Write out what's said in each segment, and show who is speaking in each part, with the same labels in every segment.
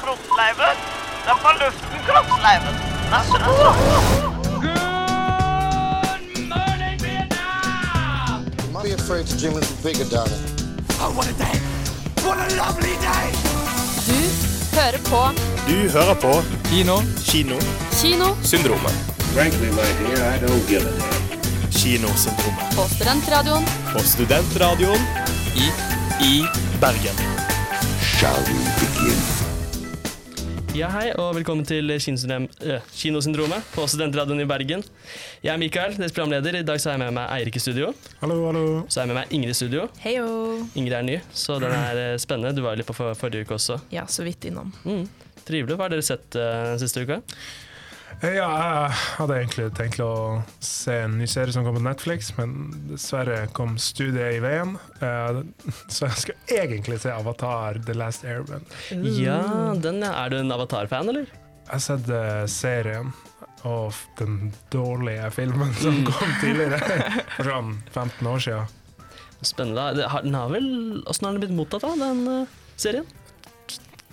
Speaker 1: kroppsleiven. Den fra luften, kroppsleiven. Den så, den
Speaker 2: Good morning, Vietnam!
Speaker 3: You might be afraid to dream a little bigger, darling.
Speaker 2: Oh, what a day! What a lovely day!
Speaker 4: Du hører på
Speaker 5: Du hører på
Speaker 6: Kino.
Speaker 5: Kino.
Speaker 4: Kino
Speaker 5: Syndromet.
Speaker 7: Frankly, my dear, I don't give a damn.
Speaker 5: Kinosyndromet.
Speaker 4: på Studentradioen.
Speaker 5: På Studentradioen
Speaker 6: I. I.
Speaker 5: Bergen.
Speaker 8: Ja, hei, og velkommen til Kinosyndrom- øh, Kinosyndromet på Studentradioen i Bergen. Jeg er Mikael, deres programleder. I dag så har jeg med meg Eirik i studio.
Speaker 5: Hallo, hallo.
Speaker 8: Så har jeg med meg Ingrid i studio.
Speaker 9: Heio!
Speaker 8: Ingrid er ny, så den er eh, spennende. Du var jo litt på for forrige uke også.
Speaker 9: Ja, så vidt innom.
Speaker 8: Trivelig. Hva har dere sett eh, den siste uka?
Speaker 10: Eh, Ja, jeg hadde egentlig tenkt å se en ny serie som kom på Netflix, men dessverre kom studiet i veien. Eh, Så jeg skal egentlig se Avatar The Last Airband.
Speaker 9: Uh. Mm.
Speaker 8: Ja, den ja. Er du en Avatar-fan, eller?
Speaker 10: Jeg har sett eh, serien og f- den dårlige filmen som kom tidligere, for sånn 15 år siden.
Speaker 8: Spennende. Det har- Den har vel Åssen har den blitt mottatt, da, den eh, serien?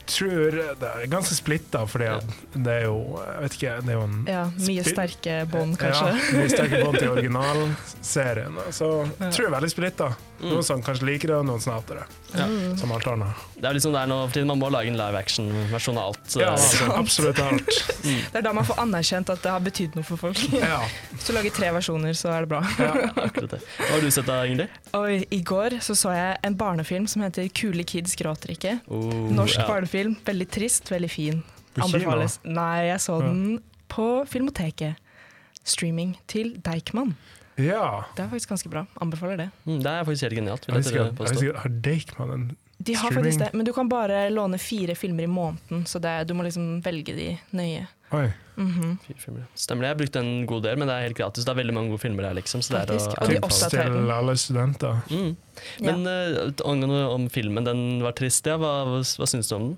Speaker 10: Tror det er ganske splitta, fordi at det er jo Jeg vet ikke, det er jo en
Speaker 9: Ja, Mye
Speaker 10: Spill-
Speaker 9: sterke bånd, kanskje.
Speaker 10: Ja, vi steker bånd til originalserien. da. Så jeg tror det er veldig splitta.
Speaker 8: Mm.
Speaker 10: Noen som kanskje liker det, og noen som hater det. Som alt annet.
Speaker 8: Det er jo liksom der nå for tiden. Man må lage en live action-versjon av alt. eh, sånn så-
Speaker 10: Ja, altså, absolutt alt.
Speaker 9: Det er da man får anerkjent at det har betydd noe for folk.
Speaker 10: Ja.
Speaker 9: Hvis du lager tre versjoner, så er det bra.
Speaker 8: Akkurat det. Hva har du sett da, Ingrid?
Speaker 9: Og I går så, så jeg en barnefilm som heter 'Kule kids gråter ikke'.
Speaker 8: Oh,
Speaker 9: Norsk
Speaker 8: ja.
Speaker 9: barnefilm. Veldig trist, veldig fin.
Speaker 10: På kino?
Speaker 9: Anbefales. Nei, jeg så den på Filmoteket. Streaming til Deichman.
Speaker 10: ja.
Speaker 9: Det er faktisk ganske bra. Anbefaler det.
Speaker 8: Mm, Det er faktisk helt genialt. Vil
Speaker 10: Jeg
Speaker 8: jeg
Speaker 10: husker,
Speaker 8: tørre
Speaker 10: jeg
Speaker 8: påstå.
Speaker 10: husker, har Dakeman en
Speaker 9: De har
Speaker 10: Streaming.
Speaker 9: faktisk det, men du kan bare låne fire filmer i måneden, så det, er- du må liksom velge de nøye.
Speaker 10: Oi.
Speaker 8: Fire filmer, ja. Stemmer det. Jeg har brukt en god del, men det er helt gratis. Det er veldig mange gode filmer der, liksom. Så det er å,
Speaker 9: Faktisk, og de
Speaker 8: er
Speaker 9: er
Speaker 8: å-
Speaker 9: opptatt.
Speaker 10: Tips til alle studenter.
Speaker 8: mm. Men eh, angående om filmen, den var trist, ja. Hva, hva, hva syns du om den?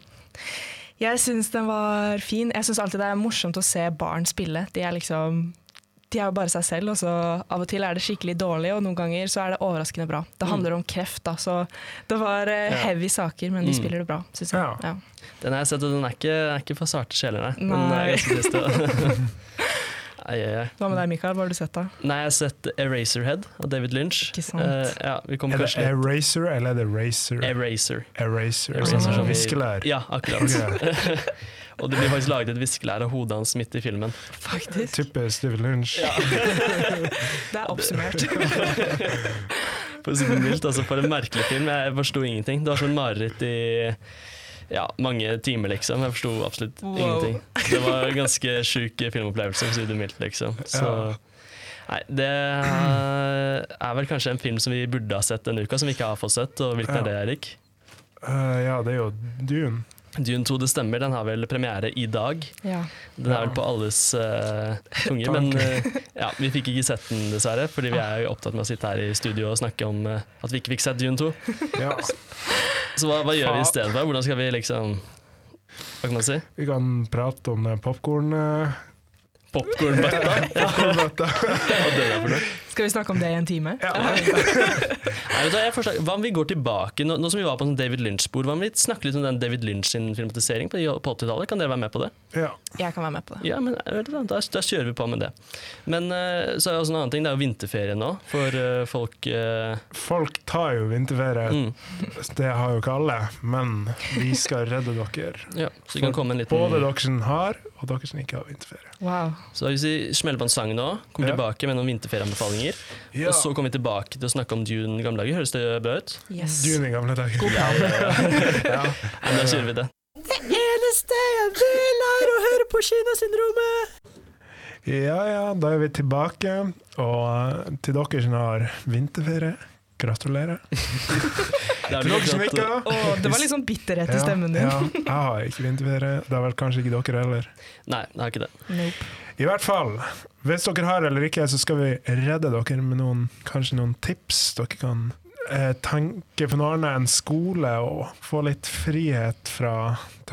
Speaker 9: Jeg syns den var fin. Jeg syns alltid det er morsomt å se barn spille. De er liksom de er jo bare seg selv, og så av og til er det skikkelig dårlig, og noen ganger så er det overraskende bra. Det handler om kreft, da, så det var eh,
Speaker 8: Ja.
Speaker 9: heavy saker, men de spiller det bra, syns jeg.
Speaker 10: Ja.
Speaker 9: Ja.
Speaker 8: Den har jeg sett, og den er ikke, er ikke for sarte sjeler, nei. eh, Den er
Speaker 9: Nei.
Speaker 8: ganske trist. ja. Ai, ai, ai.
Speaker 9: Hva med deg, Mikael? Hva har du sett, da?
Speaker 8: Nei, jeg har sett Eraserhead av David Lynch.
Speaker 9: Ikke sant.
Speaker 8: Eh, ja, vi kommer
Speaker 10: Er det
Speaker 8: kanskje litt
Speaker 10: Eraser eller er det Racer?
Speaker 8: Eraser.
Speaker 10: Eraser.
Speaker 8: Eraser,
Speaker 10: Sånn
Speaker 8: som vi-
Speaker 10: viskelær.
Speaker 8: Ja, akkurat.
Speaker 10: Ok.
Speaker 8: Og det blir faktisk laget et viskelær av hodet hans midt i filmen.
Speaker 9: Faktisk.
Speaker 10: Typisk Steven Lynch.
Speaker 9: Det er oppsummert.
Speaker 8: For å si det mildt, altså for en merkelig film. Jeg forsto ingenting. Det var som et mareritt i ja, mange timer, liksom. Jeg forsto absolutt
Speaker 9: Wow.
Speaker 8: ingenting. Det var en ganske sjuk filmopplevelse, for å si det mildt, liksom. Så
Speaker 10: Ja.
Speaker 8: Nei, det er vel kanskje en film som vi burde ha sett denne uka, som vi ikke har fått sett. Og hvilken
Speaker 10: Ja.
Speaker 8: er det, Erik?
Speaker 10: Eh, ja, det er jo Dune.
Speaker 8: Dune 2, det stemmer. Den har vel premiere i dag.
Speaker 9: Ja.
Speaker 8: Den er vel på alles eh, tunger. Men eh, ja, vi fikk ikke sett den, dessverre. Fordi vi er jo opptatt med å sitte her i studio og snakke om eh, at vi ikke fikk sett Dune 2.
Speaker 10: Ja.
Speaker 8: Så hva, hva gjør vi i
Speaker 10: Faen.
Speaker 8: stedet for? Hvordan skal vi liksom Hva kan man si?
Speaker 10: Vi kan prate om popkorn-bøtta.
Speaker 8: Popkornbøtta?
Speaker 9: Skal vi snakke om det i en time?
Speaker 8: Nei, vet du hva, jeg forstår- Hva om vi går tilbake, nå, nå som vi var på sånn David Lynch-spor, hva om vi snakker litt om den David Lynch sin filmatisering på, på 80-tallet? Kan dere være med på det?
Speaker 10: Ja.
Speaker 9: Jeg kan være med på det.
Speaker 8: Ja, men eh, vet du hva, da, da kjører vi på med det. Men eh, så er det også en annen ting, det er jo vinterferie nå for eh, folk eh,
Speaker 10: Folk tar jo vinterferie,
Speaker 8: Mm.
Speaker 10: det har jo ikke alle, men vi skal redde dere.
Speaker 8: ja, Så vi kan komme en
Speaker 10: Både
Speaker 9: Mm.
Speaker 8: liten
Speaker 10: dere som har, og dere som ikke har vinterferie.
Speaker 9: Wow.
Speaker 8: Så hvis vi smeller på en sang nå, kommer
Speaker 10: Ja.
Speaker 8: tilbake med noen vinterferieanbefalinger, og så kommer vi tilbake til å snakke om Dune gamle dager, høres det bra ut?
Speaker 9: Yes.
Speaker 10: Dune i gamle dager.
Speaker 9: God plan.
Speaker 8: Ja, da kjører vi det.
Speaker 10: Ja ja, da er vi tilbake. Og eh, til dere som har vinterferie, gratulerer.
Speaker 8: Det er vel
Speaker 10: Til dere som
Speaker 8: ikke
Speaker 10: ikke
Speaker 8: at-
Speaker 10: har
Speaker 9: Å, det var litt sånn bitterhet i stemmen din.
Speaker 10: Ja, ja, jeg har ikke vinterferie. Det har vel kanskje ikke dere heller.
Speaker 8: Nei, det er ikke det.
Speaker 9: Nope.
Speaker 10: I hvert fall, hvis dere har eller ikke, så skal vi redde dere med noen, kanskje noen tips dere kan eh, tanke på noe annet enn skole, og få litt frihet fra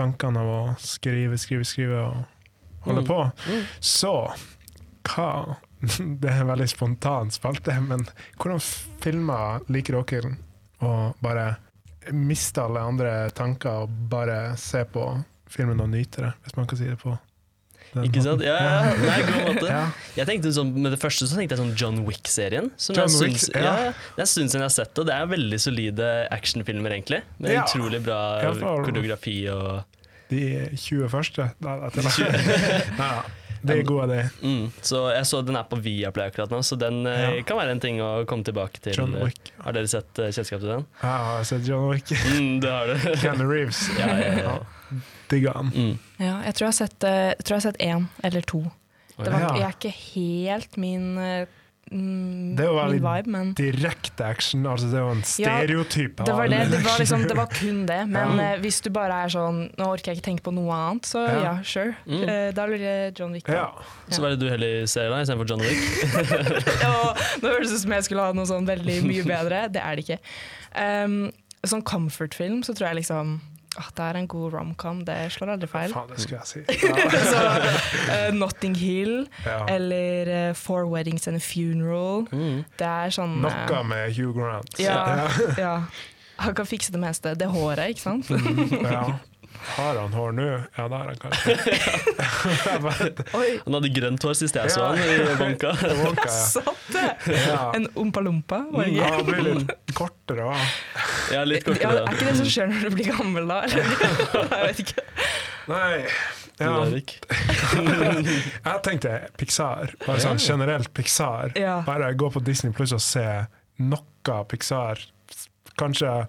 Speaker 10: tankene av å skrive, skrive, skrive og holde
Speaker 8: Mm.
Speaker 10: på. Så hva Det er en veldig spontan spalte, men hvordan filmer liker dere å bare miste alle andre tanker og bare se på filmen og nyte det, hvis man kan si det på den
Speaker 8: Ikke sant?
Speaker 10: måten.
Speaker 8: Ja, ja, ja. Nei, god måte.
Speaker 10: Ja.
Speaker 8: Jeg tenkte sånn, Med det første så tenkte jeg sånn John Wick-serien. som
Speaker 10: John
Speaker 8: jeg
Speaker 10: Wick,
Speaker 8: syns-
Speaker 10: ja.
Speaker 8: ja, ja. Det er en stund siden jeg har sett det. og Det er veldig solide actionfilmer, egentlig. Med
Speaker 10: Ja.
Speaker 8: utrolig bra
Speaker 10: Ja, for-
Speaker 8: koreografi og
Speaker 10: De 20 første? Nei, det er til- Nei, ja. det er gode, det.
Speaker 8: mm. Så jeg så den er på Viaplay akkurat nå, så den eh,
Speaker 10: Ja.
Speaker 8: kan være en ting å komme tilbake til.
Speaker 10: John Wick.
Speaker 8: Har dere sett eh, kjennskap til den?
Speaker 10: Ja, Jeg har sett John Wick.
Speaker 8: Mm, det har du.
Speaker 10: Keanu Reeves.
Speaker 8: ja, ja, ja.
Speaker 10: Digga han.
Speaker 8: Mm.
Speaker 9: Ja, jeg tror jeg har sett, eh, jeg tror jeg har sett én eller to. Det var,
Speaker 10: Ja.
Speaker 9: jeg er ikke helt min, eh, mm,
Speaker 10: Det var
Speaker 9: min
Speaker 10: litt
Speaker 9: vibe, men
Speaker 10: Direkte action, altså det er jo en stereotype.
Speaker 9: det var,
Speaker 10: av
Speaker 9: det,
Speaker 10: en
Speaker 9: det, var
Speaker 10: action.
Speaker 9: liksom, det var kun det. Men
Speaker 10: Ja.
Speaker 9: eh, hvis du bare er sånn Nå orker jeg ikke tenke på noe annet, så
Speaker 10: Ja.
Speaker 9: ja, sure.
Speaker 8: Mm.
Speaker 9: Eh, da blir det John Wick.
Speaker 10: Ja.
Speaker 9: da.
Speaker 8: Så hva er det du heller ser da, istedenfor John Wick?
Speaker 9: Og nå høres det ut som jeg skulle ha noe sånn veldig mye bedre. Det er det ikke. Um, sånn comfort-film, så tror jeg liksom at det er en god romcom. Det slår aldri feil.
Speaker 10: Faen, det skulle jeg si. Ja.
Speaker 9: så, eh, Notting Hill
Speaker 10: Ja.
Speaker 9: eller eh, Four Weddings and a Funeral. Det er sånn eh,
Speaker 10: Noe med Hugh Grant.
Speaker 9: Ja, ja. Han kan fikse det meste. Det håret, ikke sant?
Speaker 10: Ja. Har han hår nå? Ja, det har han kanskje. Jeg vet ikke.
Speaker 8: Han hadde grønt hår sist jeg så
Speaker 10: Ja.
Speaker 8: han i Wonka.
Speaker 10: Det var ikke-
Speaker 9: Satt det!
Speaker 10: Ja.
Speaker 9: En ompa-lompa, var det
Speaker 10: Ja,
Speaker 9: ikke?
Speaker 10: han blir litt kortere òg.
Speaker 8: Ja, litt
Speaker 9: Ja,
Speaker 8: kortere.
Speaker 9: er ikke det som skjer når du blir gammel, da? Eller? Jeg vet ikke.
Speaker 10: Nei.
Speaker 8: da.
Speaker 10: Ja.
Speaker 8: Du, Erik.
Speaker 10: Jeg tenkte Pixar. Bare sånn generelt Pixar.
Speaker 9: Ja.
Speaker 10: Bare gå på Disney Pluss og se noe Pixar. Kanskje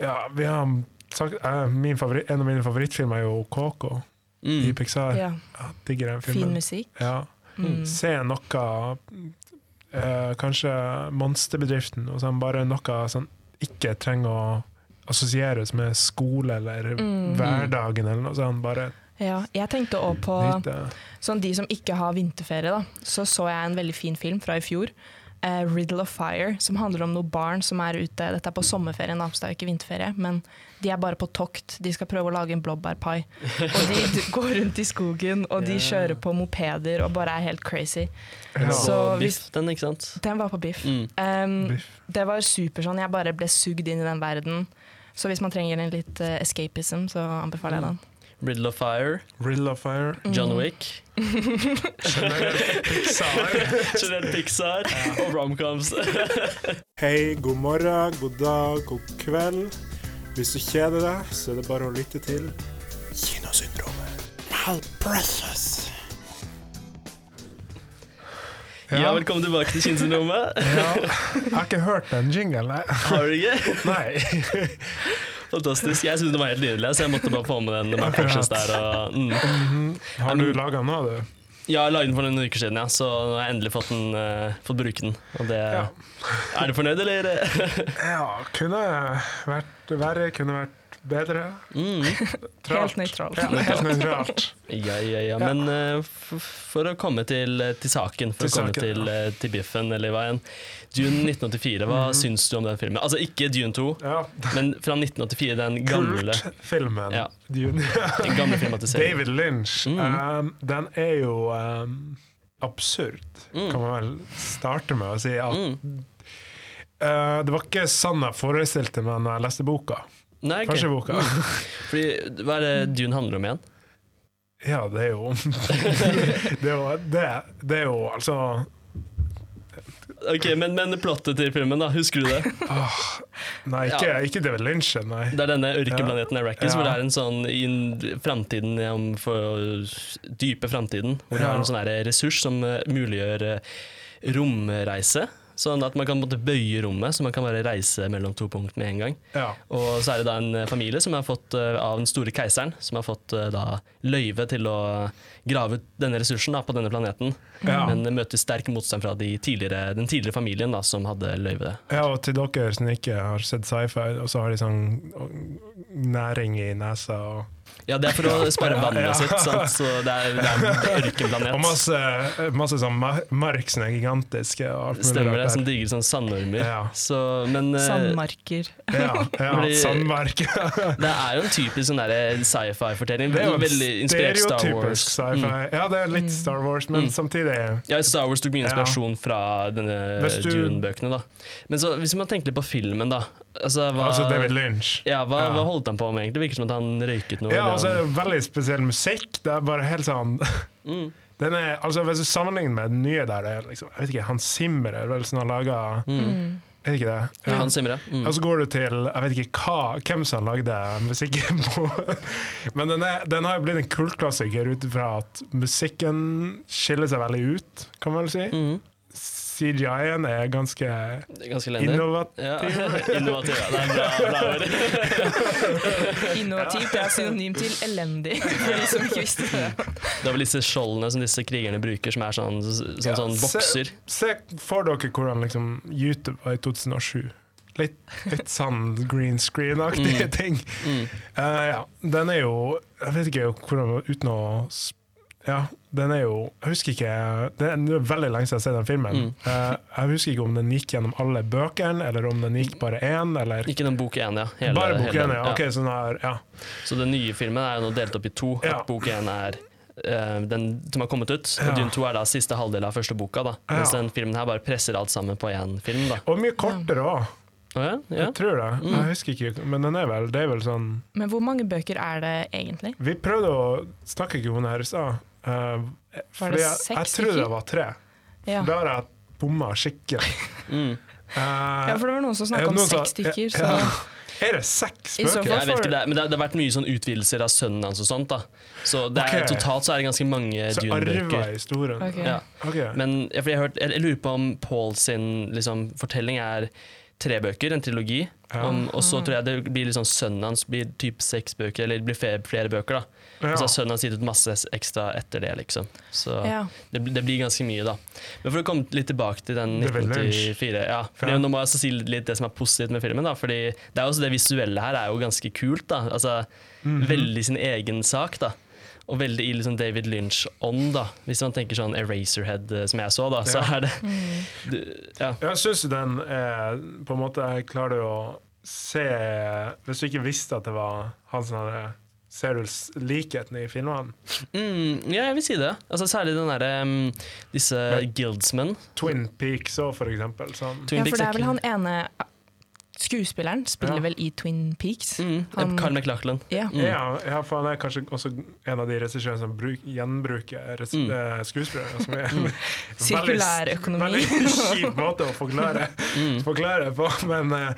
Speaker 10: Ja, vi har sagt eh, min favoritt, En av mine favorittfilmer er jo Coco i
Speaker 8: Mm.
Speaker 10: Pixar.
Speaker 9: Ja,
Speaker 10: Jeg digger den
Speaker 9: fin
Speaker 10: filmen.
Speaker 9: musikk.
Speaker 10: Ja.
Speaker 9: Mm.
Speaker 10: Se noe eh, Kanskje Monsterbedriften, og sånn, bare noe som ikke trenger å assosieres med skole eller
Speaker 9: Mm.
Speaker 10: hverdagen, eller noe sånt. Bare
Speaker 9: Ja, jeg tenkte også på
Speaker 10: nyte.
Speaker 9: sånn de som ikke har vinterferie, da. Så så jeg en veldig fin film fra i fjor. eh, Riddle of Fire, som handler om noen barn som er ute Dette er på sommerferien, da, så det er jo ikke vinterferie, men de er bare på tokt. De skal prøve å lage en blåbærpai. Og de d- går rundt i skogen, og de kjører på mopeder og bare er helt crazy.
Speaker 10: Ja.
Speaker 9: Så hvis
Speaker 8: Biff, den, ikke sant?
Speaker 9: Den var på Biff.
Speaker 8: Mm.
Speaker 9: Um,
Speaker 10: Biff.
Speaker 9: det var super sånn, jeg bare ble sugd inn i den verden. Så hvis man trenger en litt eh, escapism, så anbefaler jeg den.
Speaker 8: Riddle of Fire,
Speaker 10: Riddle of Fire.
Speaker 8: John Wick,
Speaker 10: Pixar.
Speaker 8: generelt Pixar og romcoms.
Speaker 10: Hei, god morgen, god dag, god kveld. Hvis du kjeder deg, så er det bare å lytte til Kinosyndromet.
Speaker 8: Ja.
Speaker 10: Ja.
Speaker 8: velkommen tilbake til Kinnsyndromet.
Speaker 10: Ja, jeg har ikke hørt den jinglen, jeg.
Speaker 8: Har du ikke?
Speaker 10: Nei.
Speaker 8: Fantastisk. Jeg synes det var helt nydelig, så jeg måtte bare få med den. Med Precious der, og, mm.
Speaker 10: Har du laga den nå, du?
Speaker 8: Ja, jeg lagde den for noen uker siden, ja, så nå har jeg endelig fått, den, eh, fått bruke den. Og det,
Speaker 10: Ja.
Speaker 8: Er du fornøyd, eller?
Speaker 10: Ja, kunne vært verre, kunne vært bedre.
Speaker 8: Mm.
Speaker 10: Tralt.
Speaker 9: Helt nøytral.
Speaker 10: Ja, helt nøytralt.
Speaker 8: Ja, ja, ja. Men eh, f for å komme til, eh, til saken, for
Speaker 10: Til
Speaker 8: å komme
Speaker 10: saken,
Speaker 8: til, eh, til biffen eller hva enn. Dune 1984, hva
Speaker 10: Mhm.
Speaker 8: syns du om den filmen? Altså ikke Dune 2,
Speaker 10: Ja,
Speaker 8: men fra 1984, den gamle,
Speaker 10: Kultfilmen.
Speaker 8: Ja.
Speaker 10: Dune.
Speaker 8: den gamle filmatiseringen.
Speaker 10: David Lynch.
Speaker 8: Mm.
Speaker 10: Um, den er jo um, absurd,
Speaker 8: Mm.
Speaker 10: kan man vel starte med å si. At,
Speaker 8: Mm.
Speaker 10: uh, det var ikke sånn jeg forestilte meg når jeg leste boka.
Speaker 8: Nei, ok. Mm.
Speaker 10: Første boka.
Speaker 8: Fordi, hva er det Dune handler om igjen?
Speaker 10: Ja, det er jo Det er jo, det, det er jo altså
Speaker 8: Ok, men, men plottet til filmen, da, husker du det?
Speaker 10: Nei, ikke,
Speaker 8: Ja.
Speaker 10: ikke David Lynch, nei.
Speaker 8: Det er denne ørkenplaneten Arrakis,
Speaker 10: Ja.
Speaker 8: hvor det er en sånn i en- framtiden ja, om for dype framtiden, hvor du har
Speaker 10: Ja.
Speaker 8: en sånn her ressurs som eh, muliggjør eh, romreise. Sånn at man kan på en måte bøye rommet, så man kan bare reise mellom to punkt med en gang.
Speaker 10: Ja.
Speaker 8: Og så er det da en eh, familie som har fått eh, av den store keiseren som har fått eh, da løyve til å grave ut denne ressursen da, på denne planeten.
Speaker 10: Ja.
Speaker 8: Men møter sterk motstand fra de tidligere, den tidligere familien da, som hadde løyve.
Speaker 10: Ja, og til dere som ikke har sett sci-fi, og så har de sånn næring i nesa og,
Speaker 8: Ja, det er for å spare vannet
Speaker 10: Ja.
Speaker 8: sitt, sant? så det er, det er en ørkenplanet.
Speaker 10: og masse, masse sånn mar- mark som er gigantiske. Og alt mulig
Speaker 8: Stemmer det,
Speaker 10: rart der.
Speaker 8: som digger sånn sandormer.
Speaker 10: Ja.
Speaker 8: Så, men eh,
Speaker 9: Sandmarker.
Speaker 10: Ja, ja
Speaker 8: Fordi-
Speaker 10: Sandmark.
Speaker 8: det er jo en typisk sånn der sci-fi-fortelling.
Speaker 10: Det er jo en
Speaker 8: Veldig inspirert Star Wars. Mm.
Speaker 10: stereotypisk sci-fi. Ja, det er litt Star Wars, men samtidig
Speaker 8: Ja, Star Wars tok mye
Speaker 10: Ja.
Speaker 8: inspirasjon fra denne
Speaker 10: Hvis du-
Speaker 8: Dune-bøkene. da. Men så, hvis man tenker litt på filmen, da. Altså, hva,
Speaker 10: Altså David Lynch.
Speaker 8: ja, hva,
Speaker 10: Ja.
Speaker 8: hva holdt han på med, egentlig? Det virker som at han røyket noe.
Speaker 10: Ja, altså-
Speaker 8: eller
Speaker 10: og så er
Speaker 8: han-
Speaker 10: det veldig spesiell musikk. Det er bare helt sånn
Speaker 8: Mm.
Speaker 10: den er, altså Hvis du sammenligner med den nye der, det er liksom, jeg vet ikke, Hans Zimmer er vel som har laga Er det ikke det? Ja.
Speaker 8: Han simmer, ja. Mm.
Speaker 10: Og så går du til jeg vet ikke hva, hvem som lagde musikken på Men den, er, den har jo blitt en kultklassiker ut ifra at musikken skiller seg veldig ut, kan man vel si. CGI-en er ganske
Speaker 8: Det Mm. er Ganske elendig.
Speaker 10: innovativ.
Speaker 8: Ja. Innovativ. Ja. Det er bra, bra ord.
Speaker 9: Innovativt er synonym til elendig, for de som ikke visste det.
Speaker 8: Det er vel disse skjoldene som disse krigerne bruker, som er sånn, sånn, sånn, bokser.
Speaker 10: Se, se for dere hvordan liksom, YouTube var i 2007. Litt, litt sånn green screen-aktige
Speaker 8: Mm.
Speaker 10: ting. Eh, ja. Den er jo Jeg vet ikke hvordan Uten å s- Ja, den er jo Jeg husker ikke Det er nå er det veldig lenge siden jeg har sett den filmen.
Speaker 8: Mm.
Speaker 10: Eh, jeg husker ikke om den gikk gjennom alle bøkene, eller om den gikk bare én, eller
Speaker 8: Ikke den bok én, ja. Hele-
Speaker 10: Bare bok
Speaker 8: hele-
Speaker 10: én, ja. Ok, sånn her, ja.
Speaker 8: Så den nye filmen er jo nå delt opp i to.
Speaker 10: Ja.
Speaker 8: At bok én er eh, den som har kommet ut.
Speaker 10: Ja.
Speaker 8: Og Dune 2 er da siste halvdel av første boka. da Mens
Speaker 10: Ja.
Speaker 8: den filmen her bare presser alt sammen på én film. da
Speaker 10: Og mye kortere òg,
Speaker 8: Å ja, ja.
Speaker 10: jeg tror det.
Speaker 8: Mm.
Speaker 10: Jeg husker ikke, men den er vel, det er vel sånn
Speaker 9: Men hvor mange bøker er det egentlig?
Speaker 10: Vi prøvde å snakke ikke om det her i stad. eh, fordi jeg, jeg
Speaker 9: seks
Speaker 10: trodde
Speaker 9: stykker?
Speaker 10: det var tre.
Speaker 9: Ja.
Speaker 10: Da har jeg bomma skikkelig. Eh,
Speaker 9: ja, for det var noen som
Speaker 10: er det
Speaker 9: snakka om
Speaker 10: noen som-
Speaker 9: seks stykker, så
Speaker 10: Ja. Er det seks
Speaker 9: I så
Speaker 10: bøker?
Speaker 9: fall-
Speaker 8: Jeg vet ikke, det er, men det, har- det har vært mye sånn utvidelser av sønnen hans og sånt. da Så det er,
Speaker 10: Ok.
Speaker 8: totalt så er det ganske mange
Speaker 10: Så arva
Speaker 8: Dune-bøker.
Speaker 10: jeg historien.
Speaker 9: Ok.
Speaker 8: Ja.
Speaker 10: Ok.
Speaker 8: Men ja, fordi jeg, har hørt, jeg, jeg lurer på om Paul sin liksom, fortelling er tre bøker, en trilogi.
Speaker 10: Ja.
Speaker 8: Om, og så tror jeg det blir liksom sønnen hans blir typ seks bøker, eller det blir flere, flere bøker. da.
Speaker 10: Ja.
Speaker 8: Og så har sønnen hans gitt ut masse s- ekstra etter det, liksom. Så
Speaker 9: Ja.
Speaker 8: det, blir- det blir ganske mye, da. Men for å komme litt tilbake til den
Speaker 10: Det er vel
Speaker 8: 1984 ja, fordi
Speaker 10: Ja.
Speaker 8: Nå må jeg også si litt det som er positivt med filmen. da, fordi det er også det visuelle her er jo ganske kult. da, altså Veldig sin egen sak. da og veldig i liksom David Lynch-ånd, da. Hvis man tenker sånn Eraserhead, eh, som jeg så, da, så
Speaker 10: Ja.
Speaker 8: er det
Speaker 9: Mm.
Speaker 8: du, Ja.
Speaker 10: Jeg syns den er På en måte jeg klarer du å se Hvis du ikke visste at det var han som hadde Ser du s- likheten i filmene?
Speaker 8: Mm, ja, jeg vil si det. Altså, særlig den derre um, disse guildsmen.
Speaker 10: Twin Peaks òg, for eksempel. Sånn.
Speaker 8: Twin
Speaker 9: Ja, for
Speaker 8: Peaks
Speaker 9: det
Speaker 8: er
Speaker 9: er vel
Speaker 8: ikke-
Speaker 9: han ene skuespilleren spiller
Speaker 10: Ja.
Speaker 9: vel i Twin Peaks.
Speaker 8: Mm,
Speaker 9: han-
Speaker 8: Karl McLachlan.
Speaker 9: Ja.
Speaker 10: Ja, ja, for han er kanskje også en av de regissørene som bruk, gjenbruker res,
Speaker 8: Mm.
Speaker 10: eh, skuespillere. Som er
Speaker 9: Sirkulær
Speaker 10: veldig-
Speaker 9: økonomi.
Speaker 10: Veldig kjip måte å forklare,
Speaker 8: Mm.
Speaker 10: forklare på, men eh,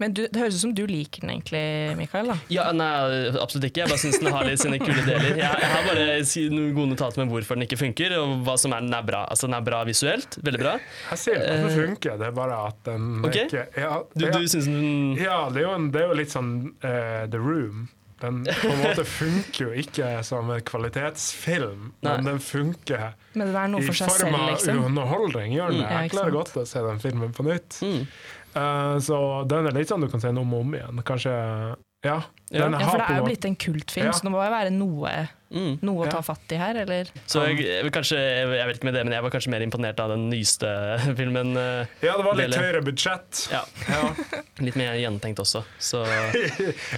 Speaker 9: Men du, det høres ut som du liker den egentlig, Mikael. da.
Speaker 8: Ja, nei, absolutt ikke. Jeg bare syns den har litt sine kule deler. Jeg, jeg har bare si- noen gode notater med hvorfor den ikke funker, og hva som er den er bra. Altså, den er bra visuelt. Veldig bra.
Speaker 10: jeg ser at den funker. Det er bare at den
Speaker 8: Eh, Ok.
Speaker 10: ikke ja,
Speaker 8: Du,
Speaker 10: ja,
Speaker 8: du syns den
Speaker 10: ja, det er jo, en, det er jo litt sånn eh, The Room. Den på en måte funker jo ikke som en kvalitetsfilm,
Speaker 8: Nei.
Speaker 10: men den funker
Speaker 9: Men den er noe
Speaker 10: i
Speaker 9: for seg
Speaker 10: form
Speaker 9: selv,
Speaker 10: av
Speaker 9: liksom.
Speaker 10: underholdning. Gjør den det?
Speaker 9: Ja,
Speaker 10: Jeg
Speaker 9: ikke
Speaker 10: klarer
Speaker 9: sant.
Speaker 10: godt å se den filmen på nytt.
Speaker 8: Mm.
Speaker 10: Eh, så den er litt sånn du kan se den om og om igjen. Kanskje Ja.
Speaker 8: Ja.
Speaker 10: den
Speaker 9: Ja, for
Speaker 10: har
Speaker 9: det
Speaker 10: på
Speaker 9: er
Speaker 10: en
Speaker 9: jo
Speaker 10: måte-
Speaker 9: blitt en kultfilm,
Speaker 10: Ja.
Speaker 9: så det må jo være noe,
Speaker 8: mm.
Speaker 9: noe å
Speaker 10: Ja.
Speaker 9: ta fatt i her, eller?
Speaker 8: Så jeg, jeg, vil kanskje, jeg vet ikke med det, men jeg var kanskje mer imponert av den nyeste filmen. eh,
Speaker 10: Ja, det var litt
Speaker 8: Dele.
Speaker 10: høyere budsjett.
Speaker 8: Ja,
Speaker 10: Ja.
Speaker 8: Litt mer gjennomtenkt også. Så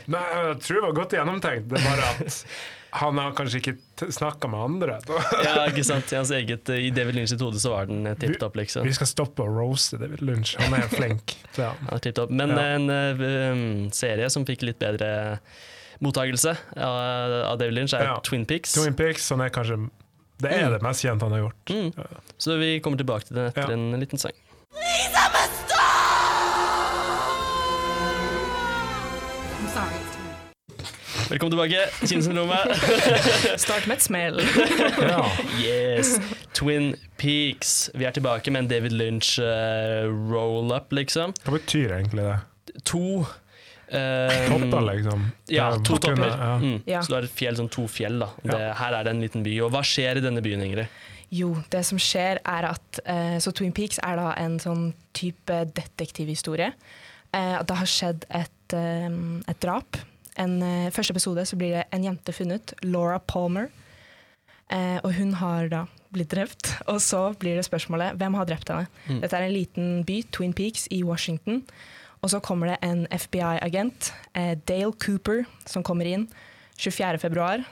Speaker 10: Nei, jeg tror det var godt gjennomtenkt. Det er bare at han har kanskje ikke snakka med andre.
Speaker 8: ja, ikke sant, i hans eget I David Lynch sitt hode så var den tippet opp, liksom.
Speaker 10: Vi skal stoppe å roaste David Lunch. Han er flink. Ja.
Speaker 8: Han er tippet opp. Men
Speaker 10: Ja.
Speaker 8: en eh, um, serie som fikk litt bedre mottagelse av, av David Lynch, er
Speaker 10: Ja.
Speaker 8: Twin Pics.
Speaker 10: Twin Peaks han er kanskje det
Speaker 9: Mm.
Speaker 10: er det mest kjente han har gjort.
Speaker 8: Mm. Så vi kommer tilbake til den etter
Speaker 10: Ja.
Speaker 8: en liten sang. Velkommen tilbake, Kinnsyndromet.
Speaker 9: Start med et smell.
Speaker 10: Ja.
Speaker 8: Yes! Twin Peaks. Vi er tilbake med en David Lynch eh, roll-up, liksom.
Speaker 10: Hva betyr egentlig det?
Speaker 8: To eh,
Speaker 10: Topper, liksom?
Speaker 8: Ja,
Speaker 10: Det er
Speaker 8: to
Speaker 10: bakgrunnen,
Speaker 8: topper.
Speaker 10: ja.
Speaker 8: Mm.
Speaker 9: Ja.
Speaker 8: Så du har et fjell, sånn to fjell. da.
Speaker 10: Ja.
Speaker 8: Det, her er det en liten by. Og hva skjer i denne byen, Ingrid?
Speaker 9: Jo, det som skjer er at eh, Så Twin Peaks er da en sånn type detektivhistorie. Eh, at det har skjedd et, eh, et drap. En eh, første episode så blir det en jente funnet, Laura Palmer. Eh, og hun har da blitt drept. Og så blir det spørsmålet hvem har drept henne.
Speaker 8: Mm.
Speaker 9: Dette er en liten by, Twin Peaks, i Washington. Og så kommer det en FBI-agent, eh, Dale Cooper, som kommer inn 24.2.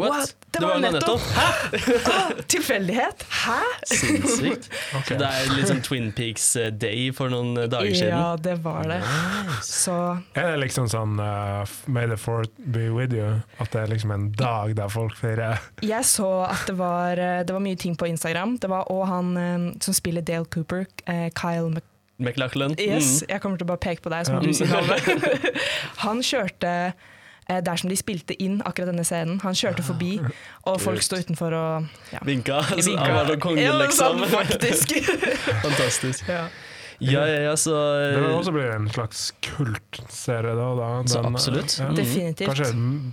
Speaker 8: What?
Speaker 9: What? Det
Speaker 8: Det
Speaker 9: var
Speaker 8: var jo
Speaker 9: jo
Speaker 8: nettopp! Hæ?
Speaker 9: Tilfeldighet? Hæ?
Speaker 8: Sinnssykt.
Speaker 10: Ok.
Speaker 8: Det er litt sånn Twin Peaks eh, Day for noen eh, dager siden.
Speaker 9: Ja, det var det. Så
Speaker 10: Er det liksom sånn eh, May the fourth be with you? At det er liksom en dag der folk feirer
Speaker 9: Jeg så at det var, eh, det var mye ting på Instagram. Det var òg han eh, som spiller Dale Cooper, eh, Kyle Mc...
Speaker 8: McLachlan.
Speaker 9: Yes,
Speaker 8: Mm.
Speaker 9: jeg kommer til å bare peke på deg, så må
Speaker 10: Ja.
Speaker 9: du si navnet. Han kjørte eh, der som de spilte inn akkurat denne scenen. Han kjørte forbi, og folk
Speaker 8: kult.
Speaker 9: sto utenfor og ja.
Speaker 8: Vinka. Altså,
Speaker 9: vinka.
Speaker 8: han var da kongen,
Speaker 9: Ja,
Speaker 8: liksom.
Speaker 9: sånn, faktisk.
Speaker 8: Fantastisk.
Speaker 9: ja.
Speaker 8: Ja, ja, ja, så
Speaker 10: Det vil også
Speaker 8: eh,
Speaker 10: bli en slags kultserie da. da.
Speaker 8: Så
Speaker 10: Den, eh,
Speaker 8: absolutt.
Speaker 10: ja.
Speaker 9: Definitivt.
Speaker 10: Kanskje mm,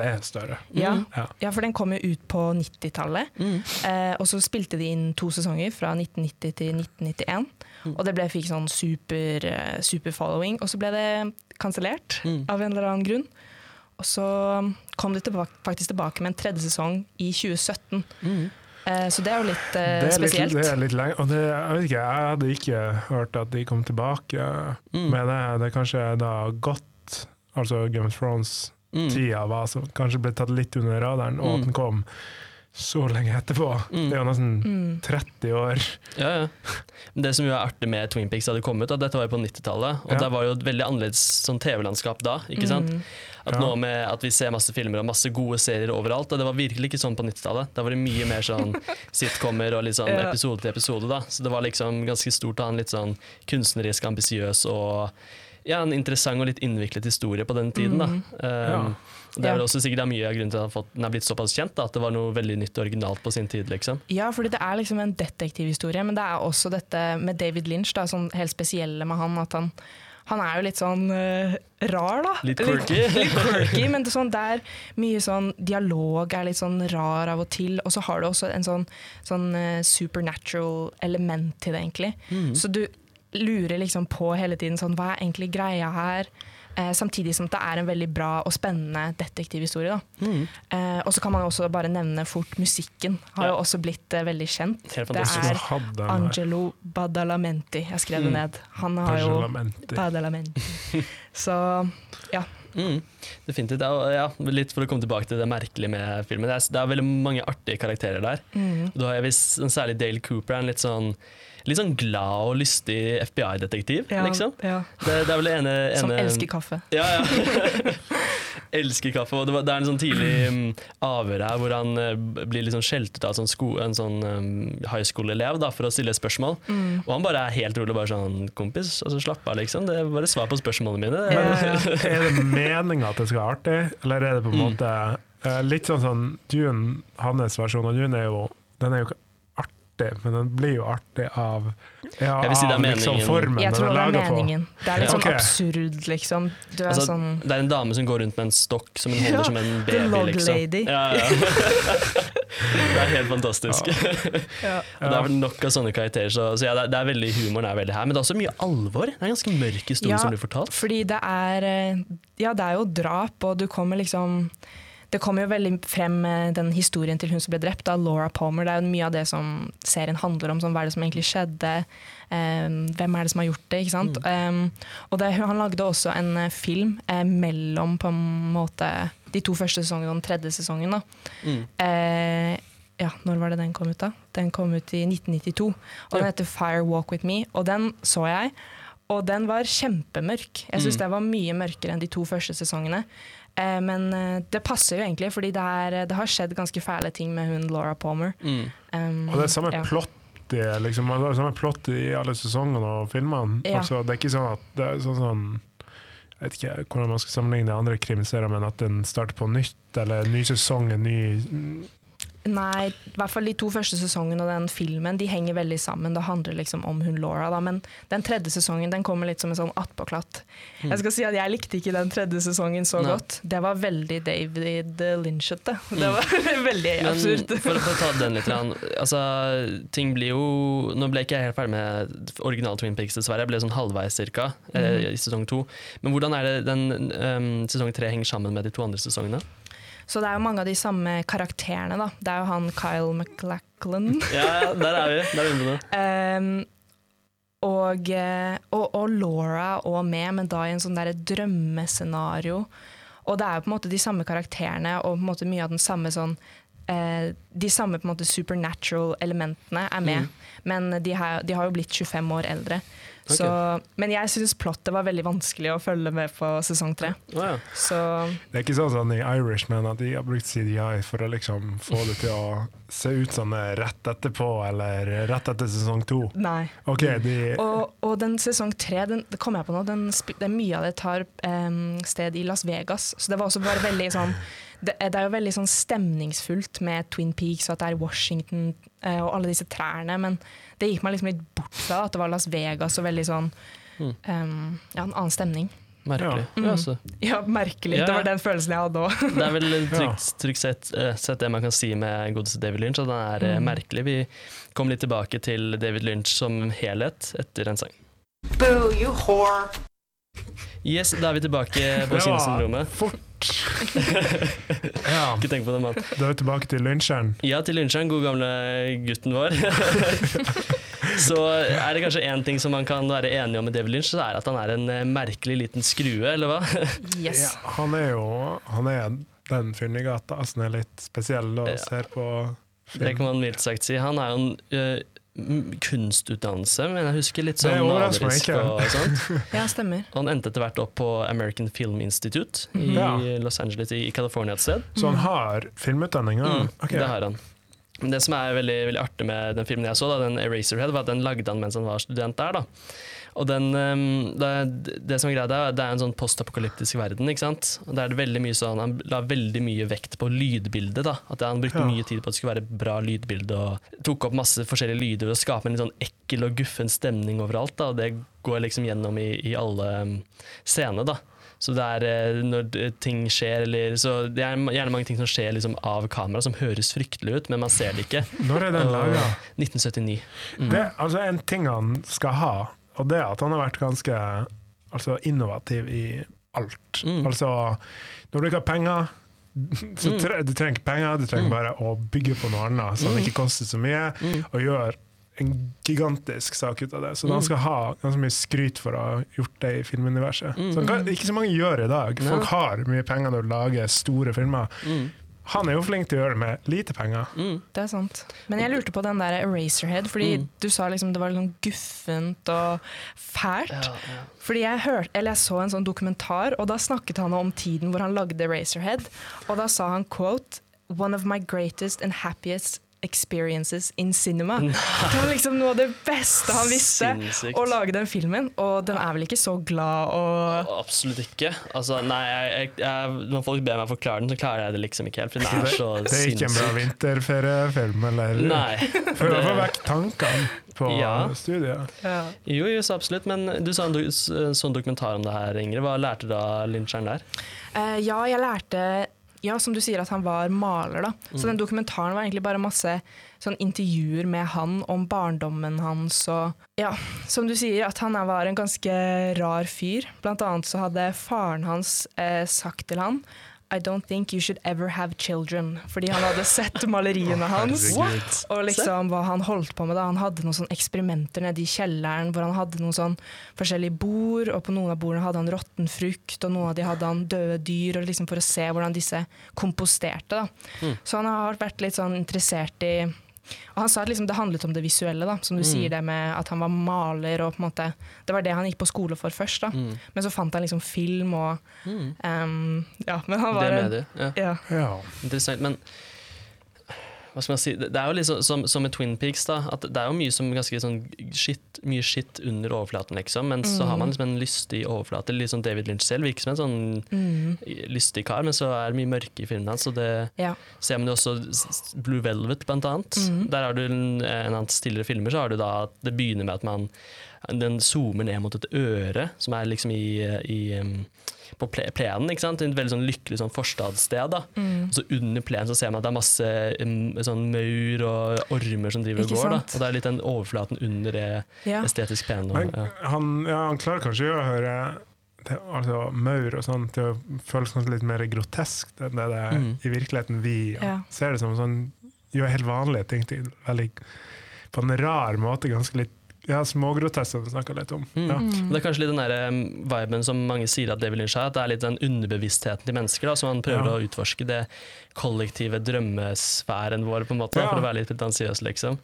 Speaker 10: det er større.
Speaker 9: Ja.
Speaker 8: Mm.
Speaker 10: Ja.
Speaker 9: ja, for den kom jo ut på 90-tallet. Eh, og så spilte de inn to sesonger, fra 1990 til 1991. Og det ble, fikk sånn super, eh, super following. Og så ble det kansellert av en eller annen grunn. Og så kom de tilbake, faktisk tilbake med en tredje sesong i 2017.
Speaker 8: mm,
Speaker 9: Eh, så det er jo litt eh,
Speaker 10: Det er litt,
Speaker 9: spesielt.
Speaker 10: det er litt lenge, og det, jeg vet ikke, jeg hadde ikke hørt at de kom tilbake
Speaker 8: mm,
Speaker 10: med det. Det er kanskje da godt, altså Game of
Speaker 8: mm.
Speaker 10: Thrones-tida var, som kanskje ble tatt litt under radaren, og at den kom så lenge etterpå.
Speaker 8: Mm.
Speaker 10: Det er jo nesten
Speaker 9: Mm.
Speaker 10: 30 år.
Speaker 8: ja, ja. Men Det som jo er artig med Twin Peaks da det kom ut, at dette var jo på 90-tallet, og
Speaker 10: Ja.
Speaker 8: det var jo et veldig annerledes sånn TV-landskap da.
Speaker 9: Mm.
Speaker 8: ikke sant? At
Speaker 10: Ja.
Speaker 8: nå med at vi ser masse filmer og masse gode serier overalt, og det var virkelig ikke sånn på 90-tallet. Da var det mye mer sånn sitcomer og litt sånn
Speaker 9: Ja.
Speaker 8: episode til episode, da. Så det var liksom ganske stort å ha en litt sånn kunstnerisk ambisiøs og ja, en interessant og litt innviklet historie på den tiden, da. Um, Det er
Speaker 9: Mm. Ja.
Speaker 8: vel også sikkert det er mye av grunnen til at den har fått- den er blitt såpass kjent, da, at det var noe veldig nytt og originalt på sin tid, liksom.
Speaker 9: Ja, fordi det er liksom en detektivhistorie, men det er også dette med David Lynch, da, sånn helt spesielle med han, at han, han er jo litt sånn eh, rar, da.
Speaker 8: Litt quirky.
Speaker 9: Litt, litt quirky, men det, er sånn, det er mye sånn dialog er litt sånn rar av og til, og så har du også en sånn, sånn eh, supernatural element til det, egentlig.
Speaker 8: Mm.
Speaker 9: Så du lurer liksom på hele tiden sånn, hva er egentlig greia her? Eh, samtidig som det er en veldig bra og spennende detektivhistorie. Da.
Speaker 8: Mm.
Speaker 9: Eh, og så kan man også bare nevne fort musikken. Har
Speaker 8: Ja.
Speaker 9: jo også blitt eh, veldig kjent. Det
Speaker 8: Helt fantastisk. Mm.
Speaker 10: Så
Speaker 9: er
Speaker 10: hadde den der
Speaker 9: Angelo Badalamenti. Jeg skrev det ned. Han har jo
Speaker 10: parlamentet.
Speaker 9: Badalamenti. Så ja.
Speaker 8: Mm, definitivt. Det er, ja, litt for å komme tilbake til det merkelige med filmen. Det er, det er veldig mange artige karakterer der.
Speaker 9: Mm.
Speaker 8: Du har jeg visst- sånn særlig Dale Cooper, er en litt sånn, litt sånn glad og lystig FBI-detektiv.
Speaker 9: ja,
Speaker 8: liksom.
Speaker 9: ja.
Speaker 8: Det, det er vel det ene, ene
Speaker 9: Som elsker kaffe.
Speaker 8: Ja, ja. Elsker kaffe. Og det, var, det er en sånn tidlig mm, avhør her hvor han eh, b- blir liksom skjelt ut av sånn sko, en sånn um, high school-elev da, for å stille et spørsmål.
Speaker 9: Mm.
Speaker 8: Og han bare er helt rolig og bare sånn 'Kompis, altså, slapp av, liksom. Det er bare svar på spørsmålene mine.'
Speaker 9: Ja,
Speaker 10: Men
Speaker 9: ja.
Speaker 10: er det meninga at det skal være artig, eller er det på en
Speaker 8: Mm.
Speaker 10: måte eh, litt sånn sånn Dune, hans versjon av Dune, er jo, den er jo ikke artig, men den blir jo artig av ja,
Speaker 8: Jeg vil si det er
Speaker 10: av liksom
Speaker 8: meningen.
Speaker 10: formen
Speaker 9: Jeg
Speaker 10: den
Speaker 9: tror
Speaker 10: er
Speaker 9: det er
Speaker 10: laga på.
Speaker 9: meningen. Det er litt
Speaker 10: Ja.
Speaker 9: sånn
Speaker 10: Ok.
Speaker 9: absurd, liksom. Du er
Speaker 8: Altså,
Speaker 9: sånn
Speaker 8: Det er en dame som går rundt med en stokk som hun holder
Speaker 9: Ja,
Speaker 8: som en
Speaker 9: the
Speaker 8: baby.
Speaker 9: log
Speaker 8: Liksom.
Speaker 9: lady.
Speaker 8: Ja, ja. det er helt fantastisk.
Speaker 9: ja.
Speaker 8: Og Det er vel nok av sånne karakterer. Så, så ja, det er, det er veldig, Humoren er veldig her, men det er også mye alvor. Det er en ganske mørk historie
Speaker 9: Ja.
Speaker 8: som blir fortalt.
Speaker 9: Fordi det er eh, Ja, det er jo drap, og du kommer liksom det kommer jo veldig frem eh, den historien til hun som ble drept, da, Laura Palmer. Det er jo mye av det som serien handler om. Sånn, hva er det som egentlig skjedde? Eh, hvem er det som har gjort det? Ikke sant?
Speaker 8: Mm.
Speaker 9: Eh, og det, han lagde også en eh, film eh, mellom på en måte de to første sesongene og den tredje sesongen. Da. Eh, ja, når var det den kom ut, da? Den kom ut i 1992. Og den heter Fire Walk With Me, og den så jeg. Og den var kjempemørk. Jeg syns den var mye mørkere enn de to første sesongene. Eh, men eh, det passer jo egentlig, fordi det, er, eh, det har skjedd ganske fæle ting med hun Laura Palmer. Um,
Speaker 10: Og det er samme
Speaker 9: ja.
Speaker 10: plott. Det, er liksom, det er samme plott i alle sesongene og filmene.
Speaker 9: Ja.
Speaker 10: Altså, det er ikke sånn at det er sånn, sånn Jeg vet ikke hvordan man skal sammenligne det andre krimserier, men at den starter på nytt, eller ny sesong, en ny
Speaker 9: Nei, i hvert fall de to første sesongene og den filmen de henger veldig sammen. Det handler liksom om hun Laura, da. Men den tredje sesongen den kommer litt som en sånn attpåklatt. Jeg skal si at jeg likte ikke den tredje sesongen så
Speaker 8: Mm. Nei. Mm.
Speaker 9: godt. Det var veldig David Lynchete. Det var veldig
Speaker 8: Men
Speaker 9: absurd.
Speaker 8: for å ta den litt grann, altså, ting blir jo, Nå ble ikke jeg helt ferdig med original Twin Peaks, dessverre. Jeg ble sånn halvveis cirka, eh,
Speaker 9: Mhm.
Speaker 8: i sesong to. Men hvordan er det den em, sesong tre henger sammen med de to andre sesongene?
Speaker 9: Så det er jo mange av de samme karakterene, da. Det er jo han Kyle McLachlan.
Speaker 8: Ja, der er vi. Der er vi inne på det.
Speaker 9: Um, og, eh, og, og Laura og med, men da i en sånn derre drømmescenario. Og det er jo på en måte de samme karakterene og på en måte mye av den samme sånn eh, De samme på en måte supernatural elementene er med, men de har, de har jo blitt 25 år eldre. Så, men jeg syns plottet var veldig vanskelig å følge med på sesong tre.
Speaker 8: Å ja.
Speaker 9: Så
Speaker 10: Det er ikke sånn som i Irishman at de har brukt CDI for å liksom få det til å se ut sånn rett etterpå, eller rett etter sesong to.
Speaker 9: nei.
Speaker 10: OK, de
Speaker 8: Mm.
Speaker 9: Og, og den sesong tre, den, det kom jeg på nå, den, sp- det er mye av det tar em, sted i Las Vegas. Så det var også bare veldig sånn det, er- det er jo veldig sånn stemningsfullt med Twin Peaks og at det er Washington eh, og alle disse trærne, men det gikk meg liksom litt bort fra at det var Las Vegas og veldig sånn
Speaker 8: Mm.
Speaker 9: em, Ja, en annen stemning.
Speaker 8: Merkelig. Ja. altså.
Speaker 9: Ja, merkelig.
Speaker 8: Ja,
Speaker 9: Det
Speaker 8: ja.
Speaker 9: var den følelsen jeg hadde òg.
Speaker 8: Det er vel
Speaker 10: Mm. Ja.
Speaker 8: trygt, trygt sett, eh, sett det man kan si med godeste David Lynch, at han er
Speaker 10: Mm.
Speaker 8: eh, merkelig. Vi kom litt tilbake til David Lynch som helhet etter en sang.
Speaker 1: Boo, you whore.
Speaker 8: Yes, da er vi tilbake på
Speaker 10: Det var
Speaker 8: Kinosyndromet.
Speaker 10: Fort! ja.
Speaker 8: Ikke tenk på det, mann.
Speaker 10: Da er vi tilbake til lunsjeren.
Speaker 8: Ja, til Lynsjøen, god gamle gutten vår. så er det kanskje én ting som man kan være enig om med David Lynch, så er det at han er en eh, merkelig liten skrue, eller hva?
Speaker 9: Yes.
Speaker 10: Ja, han er jo han er den fyren i gata som er litt spesiell og
Speaker 8: Ja.
Speaker 10: ser på
Speaker 8: Det kan man mildt sagt si. Han er jo en eh, m- kunstutdannelse, men jeg husker litt sånn
Speaker 10: Det overrasker meg
Speaker 8: malerisk
Speaker 10: ikke.
Speaker 8: og sånt.
Speaker 9: Ja, stemmer.
Speaker 8: Og han endte etter hvert opp på American Film Institute i
Speaker 10: Ja.
Speaker 8: Los Angeles i i California et sted.
Speaker 10: Så han har filmutdanning? Ja.
Speaker 8: Mm,
Speaker 10: Ok.
Speaker 8: Det har han. Men Det som er veldig, veldig artig med den filmen jeg så, da, den Eraserhead, var at den lagde han mens han var student der. da. Og den, ehm, det, det som er greia, der, det er en sånn postapokalyptisk verden. ikke sant? Og der er det veldig mye sånn, Han la veldig mye vekt på lydbildet. da. At Han brukte
Speaker 10: Ja.
Speaker 8: mye tid på at det skulle være bra lydbilde, og tok opp masse forskjellige lyder og skape en litt sånn ekkel og guffen stemning overalt. da, og Det går liksom gjennom i, i alle ehm, scener. da. Så det er eh, når d- ting skjer eller, så Det er ma- gjerne mange ting som skjer liksom, av kamera, som høres fryktelig ut, men man ser det ikke.
Speaker 10: Når er den
Speaker 8: Og-
Speaker 10: laga?
Speaker 8: 1979.
Speaker 10: Det er altså en ting han skal ha, og det er at han har vært ganske altså, innovativ i alt.
Speaker 8: Mm.
Speaker 10: Altså, når du ikke har penger så
Speaker 8: Mm.
Speaker 10: tre, Du trenger ikke penger, du trenger bare å bygge på noe annet så det ikke koster så mye,
Speaker 8: Mm.
Speaker 10: og gjør en gigantisk sak ut av det. Så han skal ha ganske mye skryt for å ha gjort det i filmuniverset.
Speaker 8: Mm.
Speaker 10: Så han kan, ikke så mange gjør i dag. Folk har mye penger når de lager store filmer.
Speaker 8: Mm.
Speaker 10: Han er jo flink til å gjøre det med lite penger.
Speaker 9: Det er sant. Men jeg lurte på den der Eraserhead, fordi du sa liksom det var litt sånn guffent og fælt. Fordi jeg, hørte, eller jeg så en sånn dokumentar, og da snakket han om tiden hvor han lagde Eraserhead. Og da sa han quote One of my greatest and happiest experiences in cinema. Det var liksom noe av det beste han visste,
Speaker 8: Sinnssykt.
Speaker 9: å lage den filmen. Og den er vel ikke så glad og
Speaker 8: Absolutt ikke. Altså, nei, jeg, jeg, jeg, når folk ber meg forklare den, så klarer jeg det liksom ikke helt. For den er så
Speaker 10: Det er ikke en bra
Speaker 8: sinnssyk.
Speaker 10: vinterferiefilm, eller
Speaker 8: Nei.
Speaker 10: For å få
Speaker 8: Det-
Speaker 10: vekk tankene på
Speaker 8: Ja.
Speaker 10: studiet.
Speaker 8: Jo, jo, så absolutt. Men du sa en do, s- sånn dokumentar om det her, Ingrid. Hva lærte du av lynsjeren der?
Speaker 9: Eh, ja, jeg lærte ja, som du sier at han var maler, da. Så den dokumentaren var egentlig bare masse sånn intervjuer med han om barndommen hans og Ja, som du sier, at han er- var en ganske rar fyr. Blant annet så hadde faren hans eh, sagt til han I don't think you should ever have children. Fordi han hadde sett maleriene hans.
Speaker 10: herregud.
Speaker 9: Og liksom hva han holdt på med da. Han hadde noen sånne eksperimenter nede i kjelleren hvor han hadde noen sånn forskjellige bord, og på noen av bordene hadde han råtten frukt, og noen av de hadde han døde dyr, og liksom for å se hvordan disse komposterte. Da. Så han har vært litt sånn interessert i og han sa at liksom det handlet om det visuelle, da. som du sier det med at han var maler. og på en måte, Det var det han gikk på skole for først. da. Men så fant han liksom film og em, Ja, men han var
Speaker 8: Det
Speaker 9: en-
Speaker 8: mediet. Ja.
Speaker 9: ja.
Speaker 10: Ja.
Speaker 8: Interessant, men hva skal man si? Det det er jo liksom som, som med Twin Peaks, da, at det er jo mye som ganske sånn shit, mye skitt under overflaten, liksom, men så har man liksom en lystig overflate. Litt sånn David Lynch selv virker som en sånn lystig kar, men så er det mye mørke i filmen hans, og det
Speaker 9: ja.
Speaker 8: ser man jo også s- s- Blue Velvet, blant annet.
Speaker 9: Mhm.
Speaker 8: Der har du en, en av hans tidligere filmer, så har du da at det begynner med at man den zoomer ned mot et øre, som er liksom i, i um, på ple- plenen, ikke sant? Et veldig sånn lykkelig sånn forstadssted. da.
Speaker 9: Mm.
Speaker 8: Og så under plenen så ser man at det er masse um, sånn maur og ormer som driver og
Speaker 9: Ikke
Speaker 8: går. da.
Speaker 9: sant?
Speaker 8: Og det er litt den overflaten under det
Speaker 9: Ja.
Speaker 8: estetisk pene.
Speaker 10: Men
Speaker 8: og- Ja.
Speaker 10: han, ja, han klarer kanskje å høre det, eh, altså, maur og sånn til å føles kanskje litt mer grotesk enn det det er
Speaker 8: Mm.
Speaker 10: i virkeligheten vi ja.
Speaker 9: Ja.
Speaker 10: ser det som. sånn Gjør helt vanlige ting til veldig, på en rar måte, ganske litt Ja, smågrotesker vi snakka litt om.
Speaker 8: Mm.
Speaker 10: Ja.
Speaker 8: Og Det er kanskje litt den der, um, viben som mange sier at David Lynch er, at det er litt den underbevisstheten til mennesker da, som han prøver
Speaker 10: Ja.
Speaker 8: å utforske. Det kollektive drømmesfæren vår, på en måte, da,
Speaker 10: Ja.
Speaker 8: for å være litt pretensiøs, liksom.